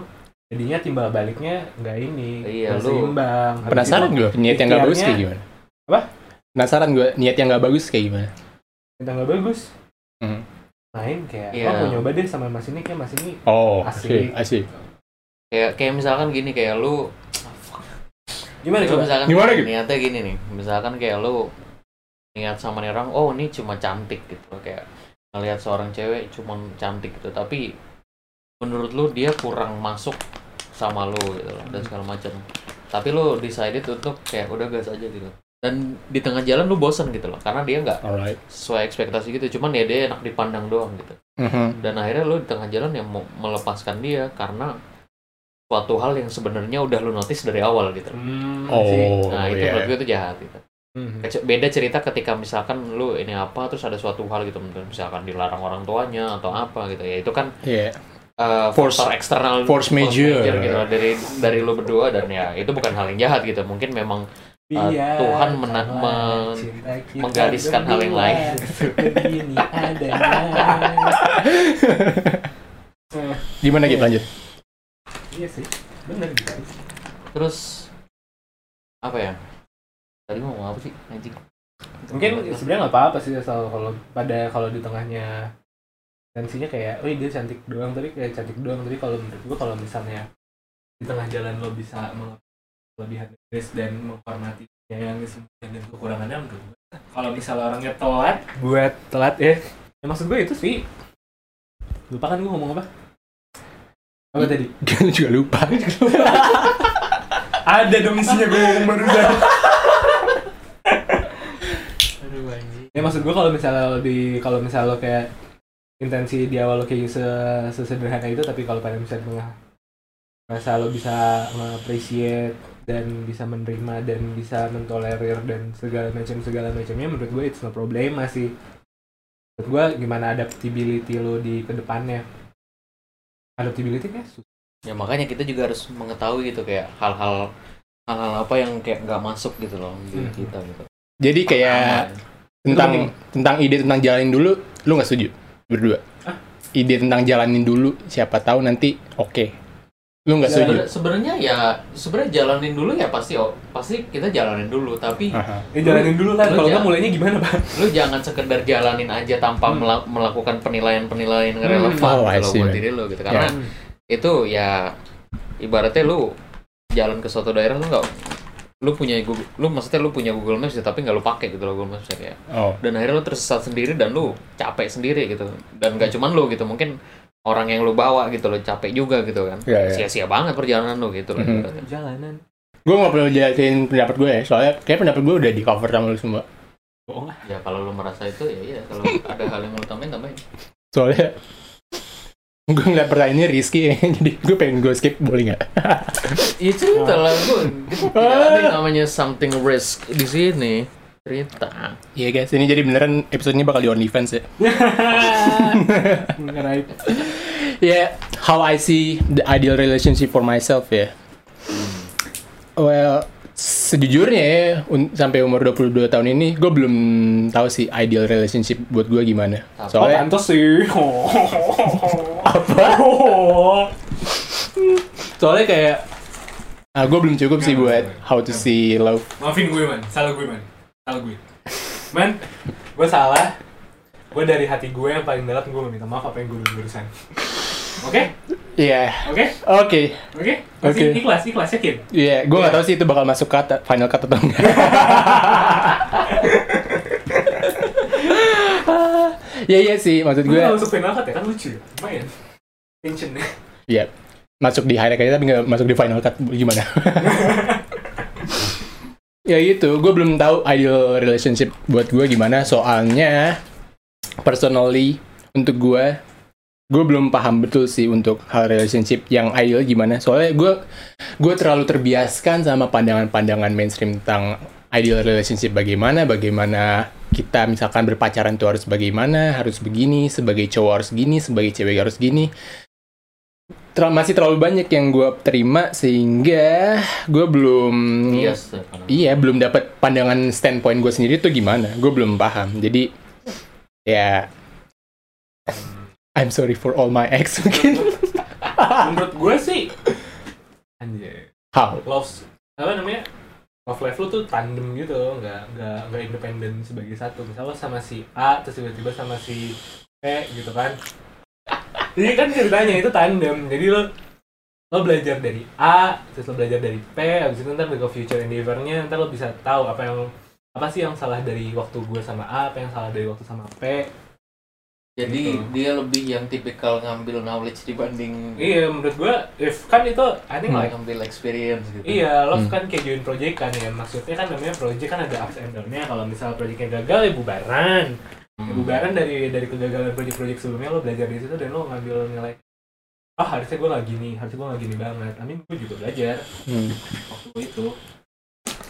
S2: jadinya timbal baliknya nggak ini.
S3: Iya,
S2: nggak
S3: lu-
S2: seimbang. Habis
S1: Penasaran
S2: itu
S1: gue niat yang gak bagus
S2: ikhtiarnya-
S1: kayak gimana?
S2: Apa?
S1: Penasaran gue niat yang gak bagus kayak gimana?
S2: Kita nggak bagus.
S1: Mhm.
S2: Main kayak,
S3: Iya.
S2: oh mau nyoba deh sama mas ini kayak mas ini.
S1: Oh, asik.
S2: Asik.
S1: asik.
S3: kayak kayak misalkan gini kayak lu
S2: Gimana
S3: Kalau
S2: coba?
S3: misalkan
S1: Gimana gitu?
S3: niatnya gini nih misalkan kayak lo niat sama nih orang oh ini cuma cantik gitu kayak ngelihat seorang cewek cuma cantik gitu tapi menurut lo dia kurang masuk sama lo gitu loh, dan segala macam tapi lo decided untuk kayak udah gas aja gitu dan di tengah jalan lo bosen gitu loh karena dia nggak
S1: Alright.
S3: sesuai ekspektasi gitu cuman ya dia enak dipandang doang gitu
S1: Mhm.
S3: dan akhirnya lo di tengah jalan yang mau melepaskan dia karena suatu hal yang sebenarnya udah lo notice dari awal gitu
S2: Hmm, sih.
S1: Oh,
S3: nah itu menurut
S1: iya.
S3: gue itu jahat gitu
S2: Mhm.
S3: Kece- beda cerita ketika misalkan lu ini apa terus ada suatu hal gitu misalkan dilarang orang tuanya atau apa gitu ya itu kan
S1: Iya.
S3: eh,
S1: Force-
S3: faktor eksternal
S1: force major.
S3: gitu loh, dari dari lu berdua dan ya itu bukan hal yang jahat gitu mungkin memang Uh,
S2: Biar
S3: Tuhan mena-
S2: kawan
S3: men-
S2: Iya, cinta kita
S3: menggariskan hal yang
S2: berdua
S3: lain.
S2: [laughs] Begini adanya. Eh,
S1: [laughs] Gimana gitu lanjut?
S2: iya sih, bener gitu.
S3: terus apa ya tadi mau ngomong apa sih anjing
S2: Mungkin sebenarnya nggak apa-apa sih asal kalau pada kalau di tengahnya tensinya kayak, oh dia cantik doang tapi kayak cantik doang tapi kalau menurut gua kalau misalnya di tengah jalan lo bisa meng- kelebihan Grace dan menghormati yang semua dan kekurangannya menurut gua kalau misalnya orangnya telat buat telat ya, ya maksud gue itu sih lupa kan gue ngomong apa apa tadi
S1: Gue juga lupa.
S2: [laughs] ada dong isinya gue ngomong barusan
S3: aduh anjing
S2: ya maksud gue kalau misalnya lo di kalau misalnya lo kayak intensi di awal lo kayak se- sesederhana itu tapi kalau pada misalnya di tengah masa lo bisa nge-appreciate dan bisa menerima dan bisa mentolerir dan segala macam segala macamnya menurut gue it's no problem sih menurut gue gimana adaptability lo di kedepannya adaptability kayak susah
S3: ya makanya kita juga harus mengetahui gitu kayak hal-hal hal-hal apa yang kayak nggak masuk gitu loh di
S2: Hmm.
S3: kita gitu
S1: Jadi kayak tentang tentang ide tentang jalanin dulu, lu nggak setuju berdua?
S2: Hah?
S1: Ide tentang jalanin dulu, siapa tahu nanti oke. Lu nggak setuju?
S3: Sebenarnya- sebenarnya ya sebenarnya jalanin dulu ya pasti oh, pasti kita jalanin dulu tapi
S1: Aha.
S2: ya jalanin dulu lah
S3: Lo
S2: kalau nggak
S3: jangan-
S2: mulainya gimana pak
S1: Hmm.
S3: lu jangan sekedar jalanin aja tanpa
S2: Hmm.
S3: mela- melakukan penilaian-penilaian yang
S1: Oh,
S3: relevan
S1: I
S3: kalau
S1: see,
S3: buat
S1: man.
S3: diri lu gitu karena itu ya ibaratnya lu jalan ke suatu daerah lu nggak lu punya Google, lu maksudnya lu punya Google Maps ya, tapi nggak lu pakai gitu loh Google Maps ya
S1: Oh,
S3: dan akhirnya lu tersesat sendiri dan lu capek sendiri gitu dan gak cuman lu gitu mungkin orang yang lu bawa gitu lo capek juga gitu kan
S1: Iya, iya.
S3: sia-sia banget perjalanan lu gitu loh
S1: Mhm.
S3: ibaratnya.
S2: jalanan
S1: gue nggak perlu jelasin pendapat gue ya, soalnya kayak pendapat gue udah di cover sama lu semua.
S2: bohong lah
S3: ya kalau lu merasa itu ya iya kalau ada hal yang lu tambahin tambahin
S1: Soalnya [laughs] gue ngeliat pertanyaannya risky, ya, [laughs] jadi gue pengen gue skip boleh nggak?
S3: ya cerita lah gue tidak ada yang namanya something risk di sini cerita
S1: Iya guys, ini jadi beneran episodenya bakal di OnlyFans ya.
S2: [laughs] Ngerai.
S1: yeah, how I see the ideal relationship for myself ya. Well, sejujurnya ya, un- sampai umur 22 tahun ini, gue belum tahu sih ideal relationship buat gue gimana.
S2: Oh,
S1: Soalnya
S2: tante sih. [laughs]
S1: apa?
S2: Oh.
S1: Soalnya kayak, ah, gue belum cukup sih buat how to see love.
S2: Maafin gue, man. Salah gue, man. Salah gue. Man, gue salah. Gue dari hati gue yang paling dalam gue meminta maaf apa yang gue barusan. Oke?
S1: Iya,
S2: Oke?
S1: oke,
S2: Oke?
S1: Oke.
S2: Masih Ikhlas, ikhlas, yakin?
S1: iya. Gue nggak tahu sih itu bakal masuk kata final kata atau enggak. [laughs] Iya iya sih, maksud gue.
S2: Gue langsung final cut ya, kan lucu ya? Lumayan. ya? Tensionnya.
S1: Iya. Masuk di highlight aja tapi nggak masuk di final cut gimana? ya gitu, gue belum tahu ideal relationship buat gue gimana. Soalnya personally untuk gue, gue belum paham betul sih untuk hal relationship yang ideal gimana. Soalnya gue gue terlalu terbiaskan sama pandangan-pandangan mainstream tentang ideal relationship bagaimana, bagaimana kita misalkan berpacaran tuh harus bagaimana, harus begini, sebagai cowok harus gini, sebagai cewek harus gini terlalu masih terlalu banyak yang gue terima sehingga gue belum
S3: Bias tuh.
S1: iya belum dapat pandangan standpoint gue sendiri tuh gimana gue belum paham jadi ya I'm sorry for all my ex [laughs] mungkin
S2: Menurut gue sih... Anjay.
S1: how
S2: Love... Apa namanya? Love life lu tuh tandem gitu, nggak nggak nggak independen sebagai satu. Misalnya sama si A, terus tiba-tiba sama si E gitu kan. Jadi kan ceritanya itu tandem. Jadi lo lo belajar dari A, terus lo belajar dari P, habis itu ntar ke future endeavor-nya, ntar lo bisa tahu apa yang apa sih yang salah dari waktu gue sama A, apa yang salah dari waktu sama P.
S3: Jadi
S2: Gitu.
S3: dia lebih yang tipikal ngambil knowledge dibanding
S2: Iya, menurut gue, if kan itu, I think like,
S3: ngambil experience gitu.
S2: Iya, love
S1: Hmm.
S2: kan kayak join project kan ya. Maksudnya kan namanya project kan ada ups and down-nya. Kalau misal projectnya gagal ya bubaran. Ya,
S3: Hmm.
S2: bubaran dari dari kegagalan project-project sebelumnya lo belajar dari situ dan lo ngambil nilai ah harusnya gue gak gini, harusnya gue gak gini banget. I mean, gue juga belajar
S1: Hmm,
S2: waktu itu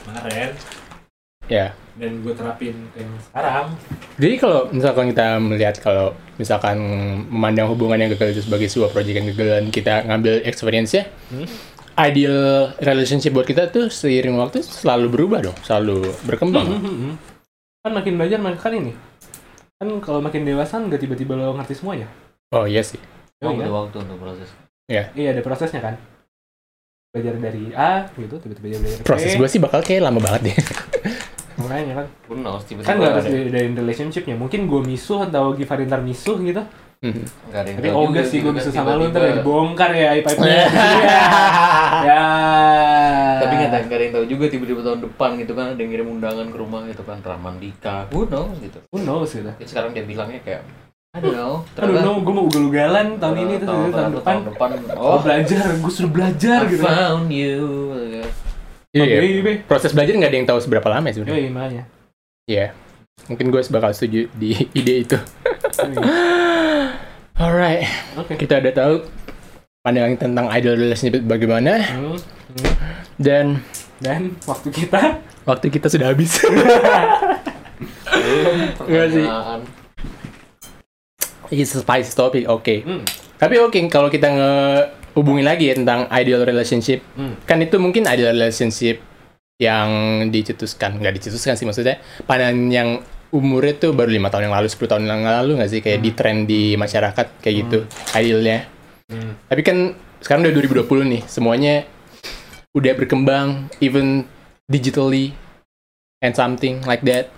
S2: kemarin
S1: ya
S2: dan gue terapin ke yang sekarang.
S1: jadi kalau misalkan kita melihat kalau misalkan memandang hubungan yang gagal itu sebagai sebuah proyek yang gagal dan kita ngambil experience-nya
S2: Hmm.
S1: ideal relationship buat kita tuh seiring waktu selalu berubah dong selalu berkembang
S2: Hmm. Kan makin belajar makin kan ini. Kan kalau makin dewasa nggak tiba-tiba lo ngerti semuanya.
S1: oh iya sih
S2: Oh,
S3: Butuh
S2: iya.
S3: waktu untuk proses.
S2: Iya, ada prosesnya kan. Belajar dari A gitu, tiba-tiba belajar dari
S1: proses
S2: B.
S1: gue sih bakal kayak lama banget deh
S2: Makanya kan.
S3: Who knows, tiba-tiba
S2: kan nggak harus
S3: ada- ya.
S2: dari, dari relationshipnya mungkin gue misuh atau Givari ntar misuh gitu
S1: Mhm.
S3: nggak ada yang
S2: tapi
S3: tahu
S2: oh
S3: juga
S2: enggak sih gue
S3: kan,
S2: misuh sama lu ntar
S3: tiba-tiba.
S2: ya dibongkar ya aib aibnya [laughs] ya
S3: Tapi nggak ada nggak ada yang tahu juga tiba-tiba tahun depan gitu kan ada yang ngirim undangan ke rumah gitu kan Raman Dika. Who knows gitu.
S2: who knows gitu
S3: Jadi sekarang dia bilangnya kayak I don't know.
S2: aduh
S3: ternyata-
S2: no gue mau ugal-ugalan tahun ini terus
S3: tahun,
S2: tahun, tahun depan
S3: depan.
S2: oh
S3: Oh,
S2: belajar gue sudah belajar
S3: I
S2: gitu
S3: found you. gitu kan.
S1: Iya,
S2: Oke, Ibe.
S1: proses belajar nggak ada yang tahu seberapa lama ya sebenarnya.
S2: Yoi, makanya
S1: Iya, mungkin gue bakal setuju di [laughs] ide itu. [gasps]
S2: Yoi.
S1: Alright,
S2: oke
S1: kita udah tahu pandangan tentang idol relationship bagaimana
S2: Hmm, hmm.
S1: dan
S2: dan waktu kita
S1: waktu kita sudah habis. [laughs]
S2: Iya
S1: Nggak sih.
S3: Pertanyaan.
S1: It's a spicy topic, oke.
S2: hmm,
S1: Tapi oke kalau kita ngehubungin lagi ya tentang ideal relationship,
S2: hmm.
S1: kan itu mungkin ideal relationship yang dicetuskan, nggak dicetuskan sih maksudnya pandangan yang umurnya tuh baru lima tahun yang lalu, 10 tahun yang lalu nggak sih kayak di tren di masyarakat kayak gitu idealnya.
S2: hmm.
S1: Tapi kan sekarang udah 2020 nih, semuanya udah berkembang, even digitally and something like that.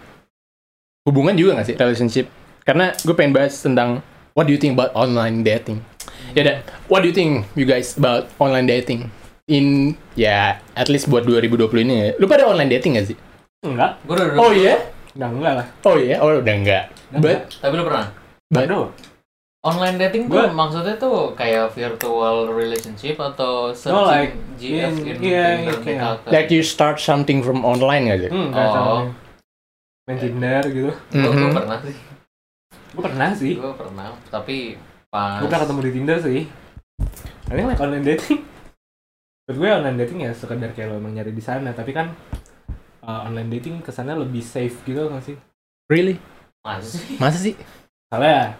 S1: Hubungan juga gak sih relationship? Karena gue pengen bahas tentang what do you think about online dating? Ya udah, what do you think you guys about online dating? In ya at least buat 2020 ini ya. Lu pada online dating gak sih?
S2: enggak
S3: Gua udah-
S1: Oh iya?
S2: enggak enggak lah
S1: Oh iya, oh udah enggak. But
S3: Tapi lu pernah?
S2: aduh
S3: Online dating tuh
S2: Gua-
S3: maksudnya tuh kayak virtual relationship atau searching
S2: like,
S3: GF
S2: in-
S3: in
S2: iya, iya,
S3: Tinder
S2: kayak-
S3: Metalka.
S1: like you start something from online gak sih?
S2: hmm, enggak
S3: Oh.
S2: sama main Tinder gitu
S3: Gua- gua
S1: Mhm.
S3: pernah sih.
S2: gue pernah sih
S3: Gue pernah, tapi pas
S2: Gue pernah ketemu di Tinder sih. Tapi like online dating. Menurut gue online dating ya sekedar kayak lo emang nyari di sana, tapi kan uh, online dating kesannya lebih safe gitu nggak sih?
S1: Really?
S3: masih.
S1: Masa sih?
S2: Soalnya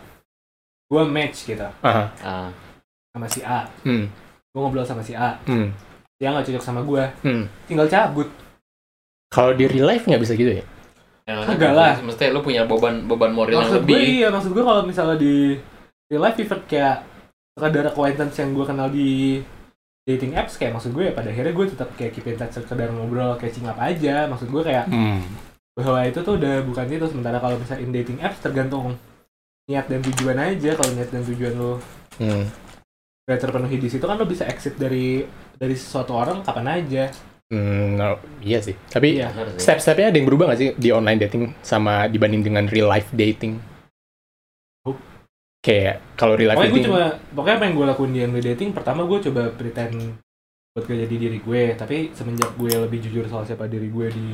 S2: gue match gitu.
S1: Aha.
S3: Ah,
S2: sama si A
S3: hmm,
S2: gue ngobrol sama si A
S3: hmm,
S2: dia nggak cocok sama gue
S3: hmm.
S2: tinggal cabut
S1: Kalau di real life nggak bisa gitu ya?
S2: Kagak lah.
S3: Mesti lu punya beban beban moral yang
S2: maksud gue
S3: lebih.
S2: iya maksud gue kalau misalnya di di live event kayak sekadar acquaintance yang gue kenal di dating apps kayak maksud gue ya pada akhirnya gue tetap kayak keep in touch sekedar ngobrol catching up aja maksud gue kayak
S1: Hmm.
S2: bahwa itu tuh udah bukan itu sementara kalau misalnya in dating apps tergantung niat dan tujuan aja kalau niat dan tujuan lo
S1: Hmm.
S2: udah terpenuhi di situ kan lo bisa exit dari dari sesuatu orang kapan aja
S1: Hmm, no, iya sih. Tapi
S2: iya
S3: Bener sih.
S1: step-stepnya ada yang berubah nggak sih di online dating sama dibanding dengan real life dating?
S2: Oh.
S1: Kayak kalau real life
S2: pokoknya gue
S1: dating,
S2: cuma pokoknya apa yang gue lakuin di NW dating pertama gue coba pretend buat gak jadi diri gue tapi semenjak gue lebih jujur soal siapa diri gue di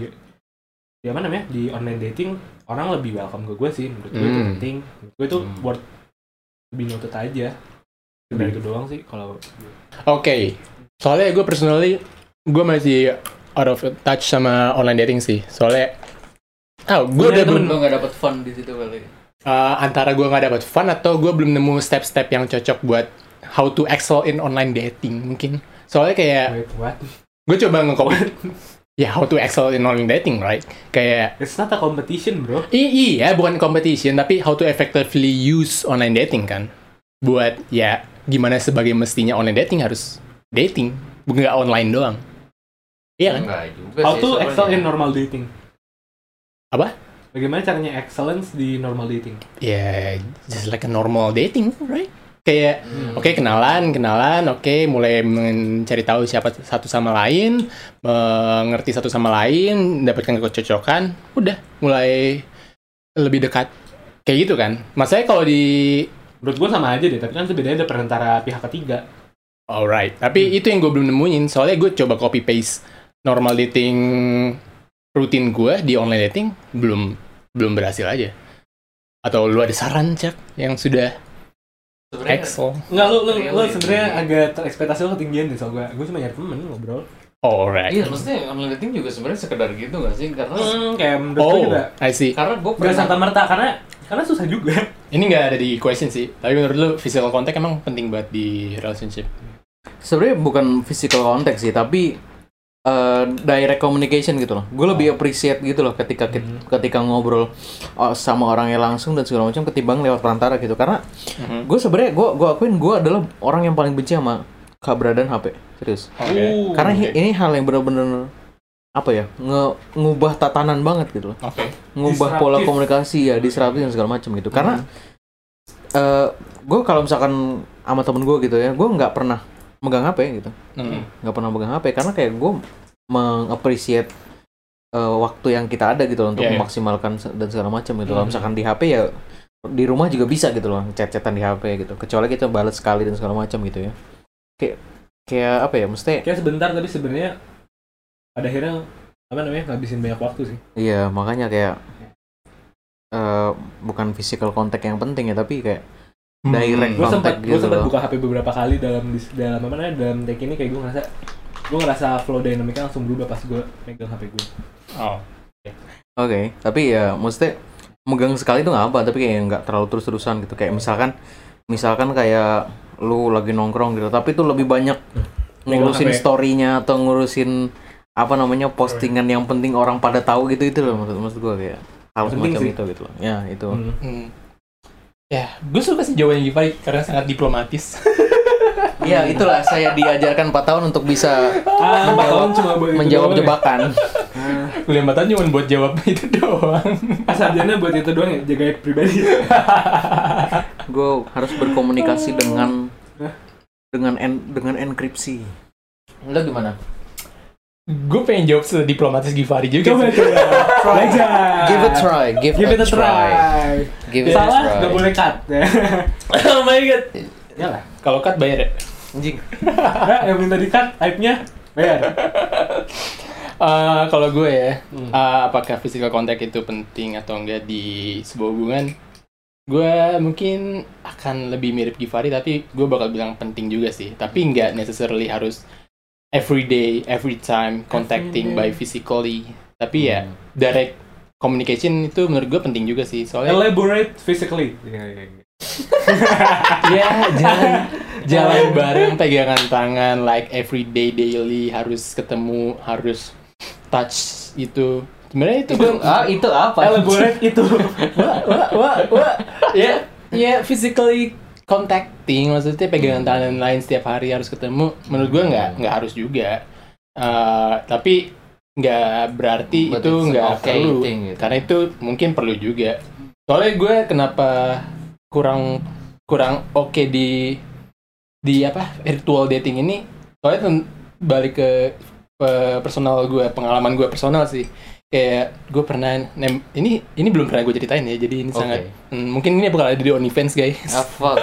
S2: di apa namanya di online dating orang lebih welcome ke gue sih menurut gue itu
S1: Hmm.
S2: penting menurut gue itu
S3: Hmm.
S2: worth lebih nutut aja sebenarnya itu doang sih kalau
S1: oke. Soalnya gue personally gue masih out of touch sama online dating sih. Soalnya, ah, gue udah belum
S3: Lu nggak dapet fun di situ kali.
S1: Eh, antara gue nggak dapat fun atau gue belum nemu step-step yang cocok buat how to excel in online dating mungkin. Soalnya kayak
S2: wait what
S1: gue coba nge-copy [laughs] ya how to excel in online dating right kayak
S2: it's not a competition bro
S1: i iya bukan competition tapi how to effectively use online dating kan buat ya gimana sebagai mestinya online dating harus dating nggak online doang iya kan
S3: Enggak juga
S2: How
S3: sih.
S2: to
S3: sebenarnya.
S2: excel in normal dating?
S1: Apa?
S2: Bagaimana caranya excellence di normal dating?
S1: ya just like a normal dating right kayak
S3: Hmm.
S1: Oke, kenalan, kenalan. Oke, mulai mencari tahu siapa satu sama lain, mengerti satu sama lain, dapatkan kecocokan. Udah, mulai lebih dekat. Kayak gitu kan. Maksudnya kalau di
S2: Menurut gue sama aja deh, tapi kan sebenarnya ada perantara pihak ketiga.
S1: alright, tapi
S2: Hmm.
S1: itu yang gue belum nemuin. Soalnya gue coba copy paste normal dating rutin gue di online dating belum belum berhasil aja. Atau lu ada saran, Cak, yang sudah Oh,
S3: Sebenarnya-
S1: excel?
S2: Enggak, lu, lu, lu
S3: Really?
S2: sebenarnya agak ter- ekspektasi lu ketinggian deh soal gue. Gue cuma nyari temen ngobrol.
S1: Alright.
S3: Iya, maksudnya online dating juga sebenarnya sekedar gitu gak sih? Karena
S2: Hmm, kayak menurut gue
S1: Oh,
S2: juga.
S1: I see.
S3: karena gue
S2: Gak
S3: pernah
S2: serta merta karena karena susah juga.
S1: Ini nggak ada di question sih, tapi menurut lu physical contact emang penting banget di relationship.
S3: sebenarnya bukan physical contact sih, tapi eh, direct communication gitu loh. Gue lebih appreciate gitu loh ketika kit-
S2: Oh. Hmm.
S3: ketika ngobrol eh, sama orangnya langsung dan segala macam ketimbang lewat perantara gitu. Karena
S1: Mhm.
S3: gue sebenarnya gue gue akuin gue adalah orang yang paling benci sama keberadaan HP serius.
S2: Uh.
S1: Oke.
S3: Karena hi- ini hal yang benar-benar apa ya nge- ngubah tatanan banget gitu loh
S1: Oke.
S3: ngubah pola
S2: Disruptif.
S3: komunikasi ya disruptif dan segala macam gitu karena
S1: Hmm.
S3: eh gue kalau misalkan sama temen gue gitu ya gue nggak pernah megang HP gitu
S1: Mhm.
S3: nggak pernah megang HP karena kayak gue mengapresiat eh, waktu yang kita ada gitu loh untuk
S1: Iya, iya.
S3: memaksimalkan se- dan segala macam gitu kalau
S1: Hmm.
S3: misalkan di HP ya di rumah juga bisa gitu loh chat-chatan di HP gitu kecuali kita balas sekali dan segala macam gitu ya kayak kayak apa ya mesti
S2: Kayak sebentar tapi sebenarnya pada akhirnya apa namanya ngabisin banyak waktu sih.
S3: Iya, makanya kayak eh bukan physical contact yang penting ya, tapi kayak
S1: Hmm.
S3: Direct.
S2: Gue sempat
S3: Kontak
S2: gue
S3: gitu
S2: sempat
S3: loh.
S2: buka HP beberapa kali dalam dis- dalam apa namanya dalam take ini kayak gue ngerasa gue ngerasa flow dinamiknya langsung berubah pas gue megang HP gue.
S1: Oh.
S3: oke, tapi ya maksudnya megang sekali itu nggak apa, tapi kayak nggak terlalu terus-terusan gitu. Kayak misalkan misalkan kayak lu lagi nongkrong gitu, tapi itu lebih banyak
S2: Megang
S3: ngurusin
S2: HP.
S3: story-nya atau ngurusin apa namanya postingan yang penting orang pada tahu gitu itu loh maksud maksud gua kayak hal
S2: Penting
S3: semacam
S2: sih.
S3: itu gitu loh. Ya, itu.
S2: Hmm.
S1: Hmm. Ya, gue suka sih jawabannya Givari karena sangat diplomatis. [laughs]
S3: Iya, itulah saya diajarkan 4 tahun untuk bisa
S2: Ah, empat tahun cuma buat itu
S3: menjawab
S2: doang ya?
S3: jebakan.
S1: Kuliah empat tahun cuma buat
S2: [laughs]
S1: jawab itu doang.
S2: Ah, sarjana buat itu doang ya, jaga aib pribadi. [laughs]
S3: gue harus berkomunikasi dengan dengan en- dengan enkripsi lo gimana
S1: gue pengen jawab sediplomatis Givari juga.
S2: coba
S1: sih.
S2: coba. Belajar.
S3: give it try give,
S2: Give it a try.
S3: give it
S2: Salah
S3: a try
S2: nggak boleh cut.
S1: [laughs] oh my god.
S2: ya lah.
S1: Kalau cut bayar ya.
S3: anjing
S2: Nah, yang minta di cut aibnya bayar.
S1: Eh, kalau gue ya,
S2: Hmm.
S1: eh, apakah physical contact itu penting atau enggak di sebuah hubungan? Gue mungkin akan lebih mirip Givari, tapi gue bakal bilang penting juga sih. Tapi nggak necessarily harus every day, every time contacting by
S2: Every day.
S1: physically. Tapi ya direct communication itu menurut gue penting juga sih. Soalnya iya,
S2: Elaborate physically.
S1: ya jangan jalan bareng pegangan tangan like everyday daily harus ketemu harus touch itu sebenarnya itu gue
S3: ah, itu apa?
S1: elaborate itu wah wah wah wah ya ya physically contacting maksudnya pegangan
S3: Hmm.
S1: tangan dan lain setiap hari harus ketemu menurut gue nggak nggak harus juga Eh, tapi nggak berarti
S3: But
S1: itu
S3: it's
S1: nggak
S3: okay
S1: perlu
S3: thing gitu.
S1: karena itu mungkin perlu juga soalnya gue kenapa kurang kurang oke di di apa virtual dating ini soalnya ten- balik ke eh, personal gue pengalaman gue personal sih kayak gue pernah nem- ini ini belum pernah gue ceritain ya jadi ini
S3: [laughs] Oke.
S1: sangat Hmm, mungkin ini bakal ada di OnlyFans guys
S3: Ah, fuck.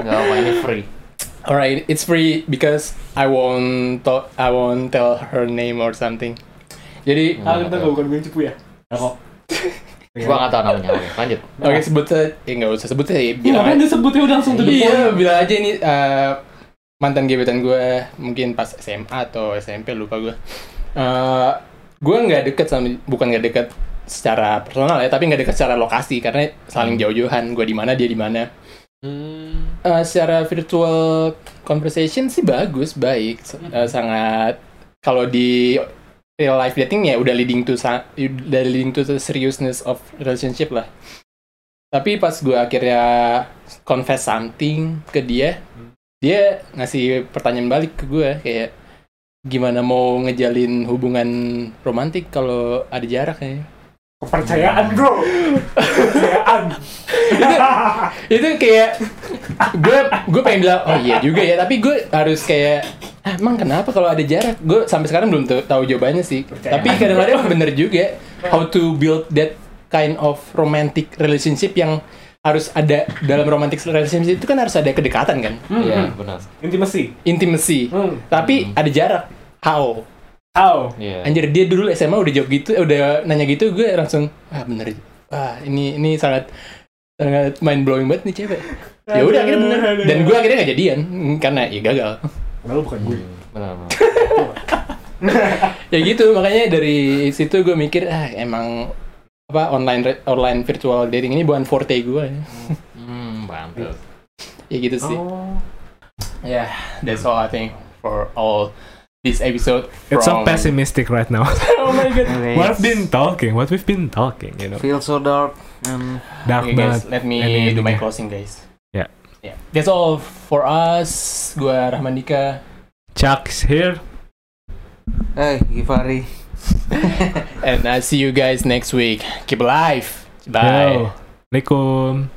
S3: Enggak apa ini free.
S1: [laughs] alright it's free because I won't to- I won't tell her name or something jadi
S2: Ah, kita nggak bukan gue yang cepu ya? Kok? Iya.
S3: Gua enggak tahu namanya. Oke, lanjut.
S1: oke sebut saja eh nggak usah sebut saja ya,
S2: Iya,
S1: bilang aja.
S2: makanya disebutnya udah langsung tuh
S1: Iya, bilang aja ini eh, mantan gebetan gue mungkin pas SMA atau SMP lupa gue. Eh, gue nggak deket sama bukan nggak deket secara personal ya, tapi nggak deket secara lokasi karena saling jauh-jauhan. Gue di mana dia di mana. Eh, secara virtual conversation sih bagus, baik, S- eh, sangat. Kalau di real life dating ya udah leading to sa- udah leading to the seriousness of relationship lah. Tapi pas gue akhirnya confess something ke dia, dia ngasih pertanyaan balik ke gue kayak gimana mau ngejalin hubungan romantik kalau ada jarak ya.
S2: Kepercayaan bro. Kepercayaan.
S1: itu kayak gue gue pengen bilang oh iya juga ya tapi gue harus kayak "Ah, emang kenapa kalau ada jarak gue sampai sekarang belum tu- tahu jawabannya sih
S2: Percaya.
S1: tapi kadang-kadang bener juga how to build that kind of romantic relationship yang harus ada dalam romantic relationship itu kan harus ada kedekatan kan
S3: Iya,
S2: Hmm.
S3: benar.
S2: Intimacy.
S1: intimacy
S2: Hmm.
S1: tapi ada jarak how
S2: How?
S3: Iya.
S1: anjir dia dulu SMA udah jawab gitu eh, udah nanya gitu gue langsung ah bener ah ini ini sangat sangat mind blowing banget nih cewek ya udah akhirnya
S2: Nah,
S1: bener dan gue akhirnya nggak jadian mm, karena ya gagal
S2: Lalu bukan
S3: [laughs]
S2: gue.
S3: Hmm, Benar. benar.
S1: ya gitu makanya dari situ gue mikir ah emang apa online re- online virtual dating ini bukan forte gue
S3: Hmm, pantes.
S1: ya gitu sih
S3: Oh.
S1: ya that's all I think for all this episode
S4: It's so
S1: from-
S4: pessimistic right now.
S1: [laughs] oh my god
S4: what we've been talking, what we've been talking, you know.
S3: Feel so dark. and
S4: Dark
S1: Okay
S4: banget.
S1: guys, let me
S4: Ini-
S1: do my
S4: ini.
S1: closing guys.
S4: Yeah.
S1: Yeah. That's all for us. Gua Rahmandika.
S4: Chuck's here.
S3: Eh, Givari.
S1: [laughs] And I'll see you guys next week. Keep alive. Bye.
S4: Yo. Assalamualaikum.